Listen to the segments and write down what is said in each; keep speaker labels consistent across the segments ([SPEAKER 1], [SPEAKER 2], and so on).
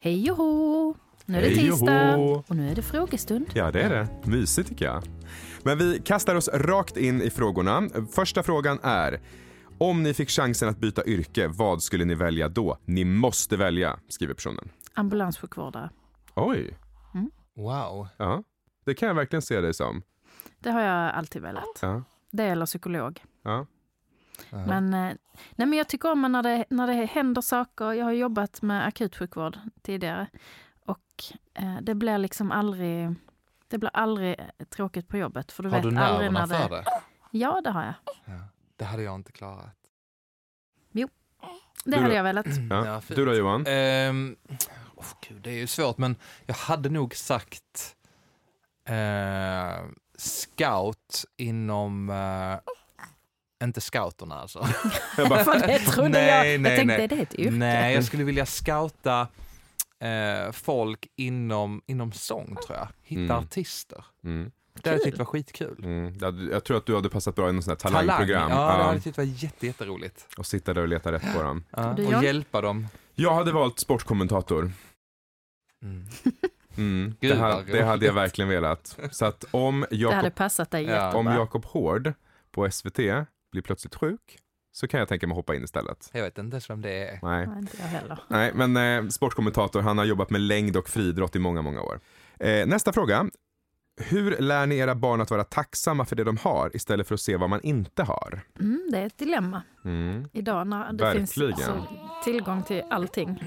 [SPEAKER 1] Hej och hå! Nu är det
[SPEAKER 2] Hej och
[SPEAKER 1] tisdag
[SPEAKER 2] hå!
[SPEAKER 1] och nu är det frågestund.
[SPEAKER 2] Ja, det är det. Mysigt tycker jag. Men vi kastar oss rakt in i frågorna. Första frågan är. Om ni fick chansen att byta yrke, vad skulle ni välja då? Ni måste välja, skriver personen.
[SPEAKER 1] Ambulanssjukvårdare.
[SPEAKER 2] Oj,
[SPEAKER 3] Wow.
[SPEAKER 2] ja. Det kan jag verkligen se dig som.
[SPEAKER 1] Det har jag alltid velat.
[SPEAKER 2] Ja,
[SPEAKER 1] Det eller psykolog.
[SPEAKER 2] ja.
[SPEAKER 3] Ja.
[SPEAKER 1] Men, eh, nej, men jag tycker om när det, när det händer saker. Jag har jobbat med akutsjukvård tidigare och eh, det blir liksom aldrig, det blir aldrig eh, tråkigt på jobbet. För du
[SPEAKER 3] Har
[SPEAKER 1] vet
[SPEAKER 3] du
[SPEAKER 1] aldrig
[SPEAKER 3] nerverna
[SPEAKER 1] när
[SPEAKER 3] för
[SPEAKER 1] det...
[SPEAKER 3] det?
[SPEAKER 1] Ja, det har jag.
[SPEAKER 3] Ja. Det hade jag inte klarat.
[SPEAKER 1] Det
[SPEAKER 2] Du
[SPEAKER 1] hade
[SPEAKER 2] då?
[SPEAKER 1] jag velat.
[SPEAKER 2] ja.
[SPEAKER 3] Ja, fint.
[SPEAKER 2] du då Johan?
[SPEAKER 3] Ehm, åh, gud, det är ju svårt, men jag hade nog sagt eh, scout inom... Eh, inte scouterna alltså.
[SPEAKER 2] Jag bara,
[SPEAKER 1] För det trodde
[SPEAKER 3] Nej,
[SPEAKER 1] jag.
[SPEAKER 3] nej,
[SPEAKER 1] jag tänkte,
[SPEAKER 3] nej. Mm,
[SPEAKER 1] det är ett yrke.
[SPEAKER 3] Nej, jag skulle vilja scouta eh, folk inom, inom sång, tror jag. Hitta
[SPEAKER 2] Mm.
[SPEAKER 3] artister.
[SPEAKER 2] mm,
[SPEAKER 3] Det hade jag
[SPEAKER 1] Kul.
[SPEAKER 3] tyckt var skitkul.
[SPEAKER 2] mm. Ja, du- Jag tror att du hade passat bra i något sånt här talangprogram.
[SPEAKER 3] Talang. Ja, det hade
[SPEAKER 2] Ja.
[SPEAKER 3] jag tyckt var jätte, jätteroligt.
[SPEAKER 2] Och sitta där och leta rätt på dem.
[SPEAKER 3] Ja.
[SPEAKER 1] Och
[SPEAKER 3] Och
[SPEAKER 1] du, John?
[SPEAKER 3] hjälpa dem.
[SPEAKER 2] Jag hade valt sportkommentator.
[SPEAKER 3] Mm.
[SPEAKER 2] Mm.
[SPEAKER 3] Gud,
[SPEAKER 2] det, ha,
[SPEAKER 3] vad
[SPEAKER 2] det hade jag
[SPEAKER 3] roligt.
[SPEAKER 2] verkligen velat. Så att om
[SPEAKER 1] Det
[SPEAKER 2] Jakob
[SPEAKER 1] hade passat dig
[SPEAKER 3] Ja.
[SPEAKER 2] Om
[SPEAKER 1] jättebra.
[SPEAKER 2] Jakob Hård på SVT blir plötsligt sjuk så kan jag tänka mig hoppa in istället.
[SPEAKER 3] Jag vet inte ens vem det är.
[SPEAKER 2] Nej,
[SPEAKER 1] Nej, inte jag heller.
[SPEAKER 2] Nej men eh, sportkommentator, han har jobbat med längd och friidrott i många, många år. Eh, nästa fråga. Hur lär ni era barn att vara tacksamma för det de har istället för att se vad man inte har?
[SPEAKER 1] Mm, det är ett dilemma
[SPEAKER 2] Mm.
[SPEAKER 1] idag när det
[SPEAKER 2] Verkligen.
[SPEAKER 1] finns alltså, tillgång till allting.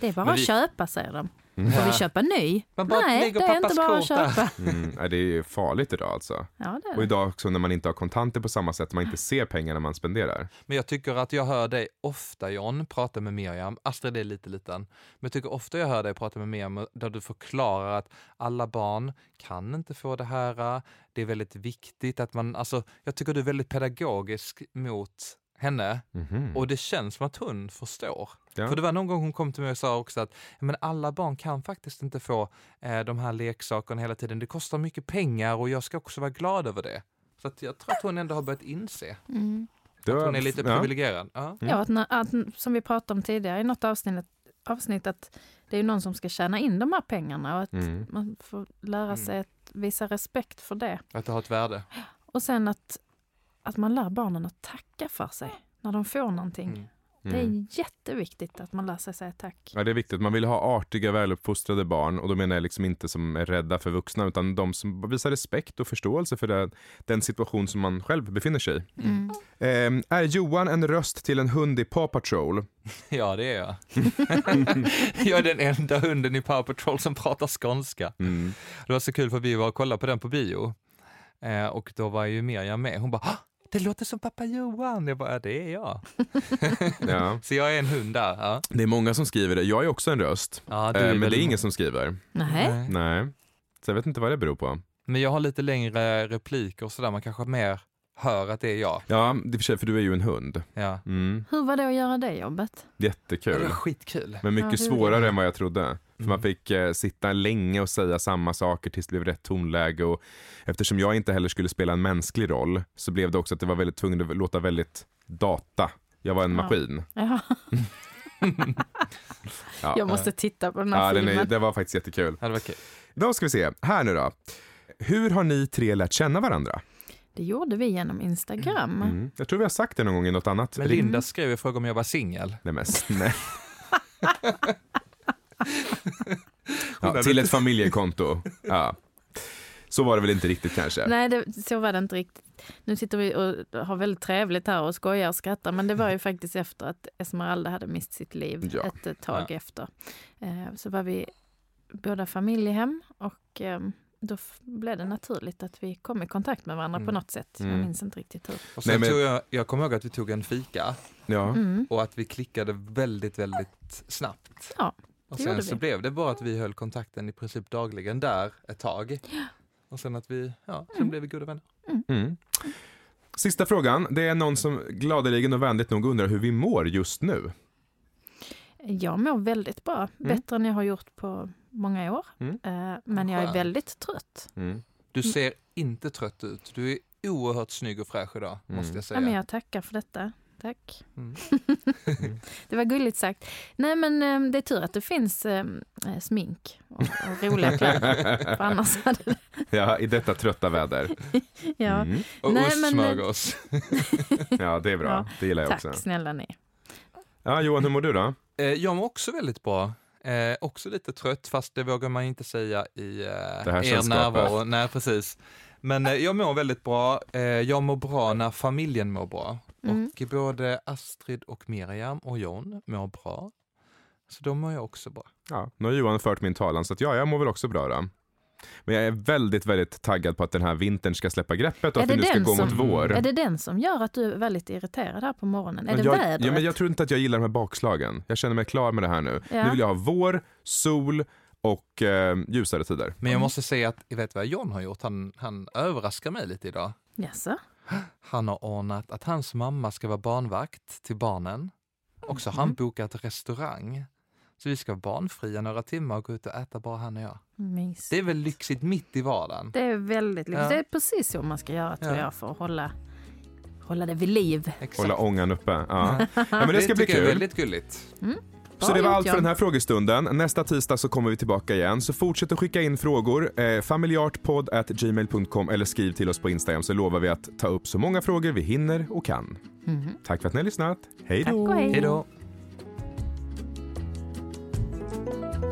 [SPEAKER 1] Det är bara
[SPEAKER 3] Men
[SPEAKER 1] att
[SPEAKER 3] vi-
[SPEAKER 1] köpa, säger de.
[SPEAKER 2] Mm.
[SPEAKER 1] Får vi köpa ny?
[SPEAKER 3] Man bara
[SPEAKER 1] Nej, det
[SPEAKER 3] lägger
[SPEAKER 1] är
[SPEAKER 3] pappas
[SPEAKER 1] inte bara att
[SPEAKER 3] kort där.
[SPEAKER 1] köpa.
[SPEAKER 2] Mm. Nej, det är ju farligt idag alltså.
[SPEAKER 1] Ja, det är
[SPEAKER 2] Och
[SPEAKER 1] det.
[SPEAKER 2] idag också när man inte har kontanter på samma sätt, man inte ser pengarna man spenderar.
[SPEAKER 3] Men jag tycker att jag hör dig ofta John prata med Miriam, Astrid är lite liten, men jag tycker ofta jag hör dig prata med Miriam där du förklarar att alla barn kan inte få det här, det är väldigt viktigt att man, alltså jag tycker du är väldigt pedagogisk mot henne
[SPEAKER 2] Mhm.
[SPEAKER 3] och det känns som att hon förstår.
[SPEAKER 2] Ja.
[SPEAKER 3] För det var någon gång hon kom till mig och sa också att men alla barn kan faktiskt inte få eh, de här leksakerna hela tiden, det kostar mycket pengar och jag ska också vara glad över det. Så att jag tror att hon ändå har börjat inse
[SPEAKER 1] Mm.
[SPEAKER 2] Det var-
[SPEAKER 3] att hon är lite
[SPEAKER 2] ja.
[SPEAKER 3] privilegierad. Ja.
[SPEAKER 2] Mm.
[SPEAKER 1] Ja, att, när- att, som vi pratade om tidigare i något avsnitt, avsnitt att det är någon som ska tjäna in de här pengarna och att
[SPEAKER 2] Mm.
[SPEAKER 1] man får
[SPEAKER 3] Mm.
[SPEAKER 1] lära sig att visa respekt för det.
[SPEAKER 3] Att det har ett värde.
[SPEAKER 1] Och sen att, att man lär barnen att tacka för sig när de får någonting.
[SPEAKER 3] Mm.
[SPEAKER 1] Det
[SPEAKER 2] Mm.
[SPEAKER 1] är jätteviktigt att man lär sig säga tack.
[SPEAKER 2] Ja, det är viktigt. Man vill ha artiga, väluppfostrade barn och då menar jag liksom inte som är rädda för vuxna utan de som visar respekt och förståelse för det, den situation som man själv befinner sig i.
[SPEAKER 1] Mm.
[SPEAKER 2] Ehm, är Johan en röst till en hund i Paw Patrol?
[SPEAKER 3] Ja, det är jag. jag är den enda hunden i Power Patrol som pratar skånska.
[SPEAKER 2] Mm.
[SPEAKER 3] Det var så kul för vi var och kollade på den på bio eh, och då var ju Miriam med. Hon bara "Ah, det låter som pappa Johan. Jag bara, "Ja, det är jag.
[SPEAKER 2] Ja.
[SPEAKER 3] Så jag är en hund där. Ja,
[SPEAKER 2] Det är många som skriver det. Jag är också en röst.
[SPEAKER 3] ja, du
[SPEAKER 2] Ehm, men det
[SPEAKER 3] väl-
[SPEAKER 2] är ingen som skriver.
[SPEAKER 1] Nej.
[SPEAKER 3] Nej.
[SPEAKER 2] Nej. Så jag vet inte vad det beror på.
[SPEAKER 3] Men jag har lite längre repliker och sådär. Man kanske mer hör att det är jag.
[SPEAKER 2] Ja, det är för sig, för du är ju en hund.
[SPEAKER 3] Ja.
[SPEAKER 2] Mm.
[SPEAKER 1] Hur var det att göra det jobbet?
[SPEAKER 3] Det var
[SPEAKER 2] Jättekul.
[SPEAKER 3] skitkul.
[SPEAKER 2] Men mycket
[SPEAKER 1] Ja, det är det.
[SPEAKER 2] svårare än vad jag trodde. För
[SPEAKER 3] Mm.
[SPEAKER 2] man fick eh, sitta länge och säga samma saker tills det blev rätt tonläge och eftersom jag inte heller skulle spela en mänsklig roll så blev det också att det var väldigt tvungen att låta väldigt data. Jag var en
[SPEAKER 1] Ja.
[SPEAKER 2] maskin.
[SPEAKER 1] Ja.
[SPEAKER 2] Ja. eh.
[SPEAKER 1] Jag måste titta på den här
[SPEAKER 2] Ja, den
[SPEAKER 1] filmen.
[SPEAKER 2] är, det var faktiskt jättekul.
[SPEAKER 3] Ja, det var kul.
[SPEAKER 2] Då ska vi se, här nu då. Hur har ni tre lärt känna varandra?
[SPEAKER 1] Det gjorde vi genom Instagram.
[SPEAKER 2] Mm. Jag tror vi har sagt det någon gång i något annat.
[SPEAKER 3] Men
[SPEAKER 2] ring-
[SPEAKER 3] Linda skrev och frågade om jag var singel.
[SPEAKER 2] Nej, men snälla. ja,
[SPEAKER 3] hade
[SPEAKER 2] till ett familjekonto. Ja. Så var det väl inte riktigt kanske.
[SPEAKER 1] Nej, det, så var det inte riktigt. Nu sitter vi och har väldigt trevligt här och skojar och skrattar, men det var ju faktiskt efter att Esmeralda hade mist sitt liv
[SPEAKER 2] Ja.
[SPEAKER 1] ett eh, tag
[SPEAKER 3] Ja.
[SPEAKER 1] efter. Eh, Så var vi båda familjehem och eh, då f- blev det naturligt att vi kom i kontakt med varandra på
[SPEAKER 3] Mm.
[SPEAKER 1] något sätt. Jag
[SPEAKER 2] Mm.
[SPEAKER 1] minns inte riktigt hur.
[SPEAKER 3] Och sen
[SPEAKER 2] Nej, men-
[SPEAKER 3] tog jag, jag kommer ihåg att vi tog en fika
[SPEAKER 2] Ja.
[SPEAKER 1] Mm.
[SPEAKER 3] och att vi klickade väldigt, väldigt snabbt.
[SPEAKER 1] Ja,
[SPEAKER 3] och
[SPEAKER 1] det
[SPEAKER 3] sen
[SPEAKER 1] gjorde
[SPEAKER 3] så
[SPEAKER 1] vi.
[SPEAKER 3] blev det bara att vi höll kontakten i princip dagligen där ett tag. Och sen att vi, ja, sen blev vi goda vänner.
[SPEAKER 2] Mm. Sista frågan. Det är någon som gladeligen och vänligt nog undrar hur vi mår just nu.
[SPEAKER 1] Jag mår väldigt bra, bättre än jag har gjort på många år.
[SPEAKER 2] Mm.
[SPEAKER 1] Eh, Men jag är
[SPEAKER 3] Skönt.
[SPEAKER 1] väldigt trött.
[SPEAKER 3] Du
[SPEAKER 1] Mm.
[SPEAKER 2] Mm.
[SPEAKER 3] ser inte trött ut. Du är oerhört snygg och fräsch idag, måste jag säga.
[SPEAKER 1] Ja, men jag tackar för detta. Tack.
[SPEAKER 3] Mm.
[SPEAKER 1] Det var gulligt sagt. Nej men eh, det är tur att det finns eh, eh, smink och, och roliga kläder. För annars hade det...
[SPEAKER 2] ja, i detta trötta väder.
[SPEAKER 1] Ja.
[SPEAKER 2] Mm.
[SPEAKER 3] Och
[SPEAKER 1] Nej, men-
[SPEAKER 3] ostsmörgås.
[SPEAKER 2] Ja, det är bra.
[SPEAKER 1] Ja,
[SPEAKER 2] Det gillar jag
[SPEAKER 1] Tack
[SPEAKER 2] också.
[SPEAKER 1] snälla ni.
[SPEAKER 2] Ja, Johan, hur mår du då?
[SPEAKER 3] Eh, jag mår också väldigt bra. Eh, också lite trött, fast det vågar man ju inte säga i eh,
[SPEAKER 2] Det här
[SPEAKER 3] er
[SPEAKER 2] sällskapet.
[SPEAKER 3] närvaro. Nej, precis. Men eh, jag mår väldigt bra. Eh, jag mår bra när familjen mår bra.
[SPEAKER 1] Mm.
[SPEAKER 3] Och både Astrid och Miriam och John mår bra. Så då mår jag också bra.
[SPEAKER 2] Ja, nu har Johan fört min talan, så att ja, jag mår väl också bra då. Men jag är väldigt, väldigt taggad på att den här vintern ska släppa greppet och
[SPEAKER 1] Är
[SPEAKER 2] att vi
[SPEAKER 1] det
[SPEAKER 2] nu ska
[SPEAKER 1] den
[SPEAKER 2] gå mot
[SPEAKER 1] som-
[SPEAKER 2] vår.
[SPEAKER 1] Är det den som gör att du är väldigt irriterad här på morgonen? Är det
[SPEAKER 2] jag,
[SPEAKER 1] vädret?
[SPEAKER 2] Ja, men jag tror inte att jag gillar de här bakslagen. Jag känner mig klar med det här nu.
[SPEAKER 1] Ja.
[SPEAKER 2] Nu vill jag ha vår, sol och eh, ljusare tider.
[SPEAKER 3] Men jag måste säga att, jag vet vad John har gjort? Han, han överraskar mig lite idag.
[SPEAKER 1] Jaså?
[SPEAKER 3] Han har ordnat att hans mamma ska vara barnvakt till barnen. Och
[SPEAKER 1] Mm.
[SPEAKER 3] så har han bokat restaurang. Så vi ska vara barnfria några timmar och gå ut och äta bara han och jag.
[SPEAKER 1] Mysigt.
[SPEAKER 3] Det är väl lyxigt mitt i vardagen.
[SPEAKER 1] Det är väldigt lyxigt.
[SPEAKER 3] Ja.
[SPEAKER 1] Det är precis så man ska göra tror
[SPEAKER 3] Ja.
[SPEAKER 1] jag för att hålla, hålla det vid liv.
[SPEAKER 3] Exakt.
[SPEAKER 2] Hålla ångan uppe. Ja. ja, men det ska bli
[SPEAKER 3] tycker jag är
[SPEAKER 2] kul.
[SPEAKER 3] väldigt gulligt.
[SPEAKER 2] Så det
[SPEAKER 1] Bra
[SPEAKER 2] var
[SPEAKER 1] gjort,
[SPEAKER 2] allt för
[SPEAKER 1] Jan.
[SPEAKER 2] den här frågestunden. Nästa tisdag så kommer vi tillbaka igen. Så fortsätt att skicka in frågor. Eh, familjartpodd.gmail.com eller skriv till oss på Instagram så lovar vi att ta upp så många frågor vi hinner och kan.
[SPEAKER 1] Mhm.
[SPEAKER 2] Tack för att ni har lyssnat. Hej då!
[SPEAKER 1] Tack och hej.
[SPEAKER 3] Hej då.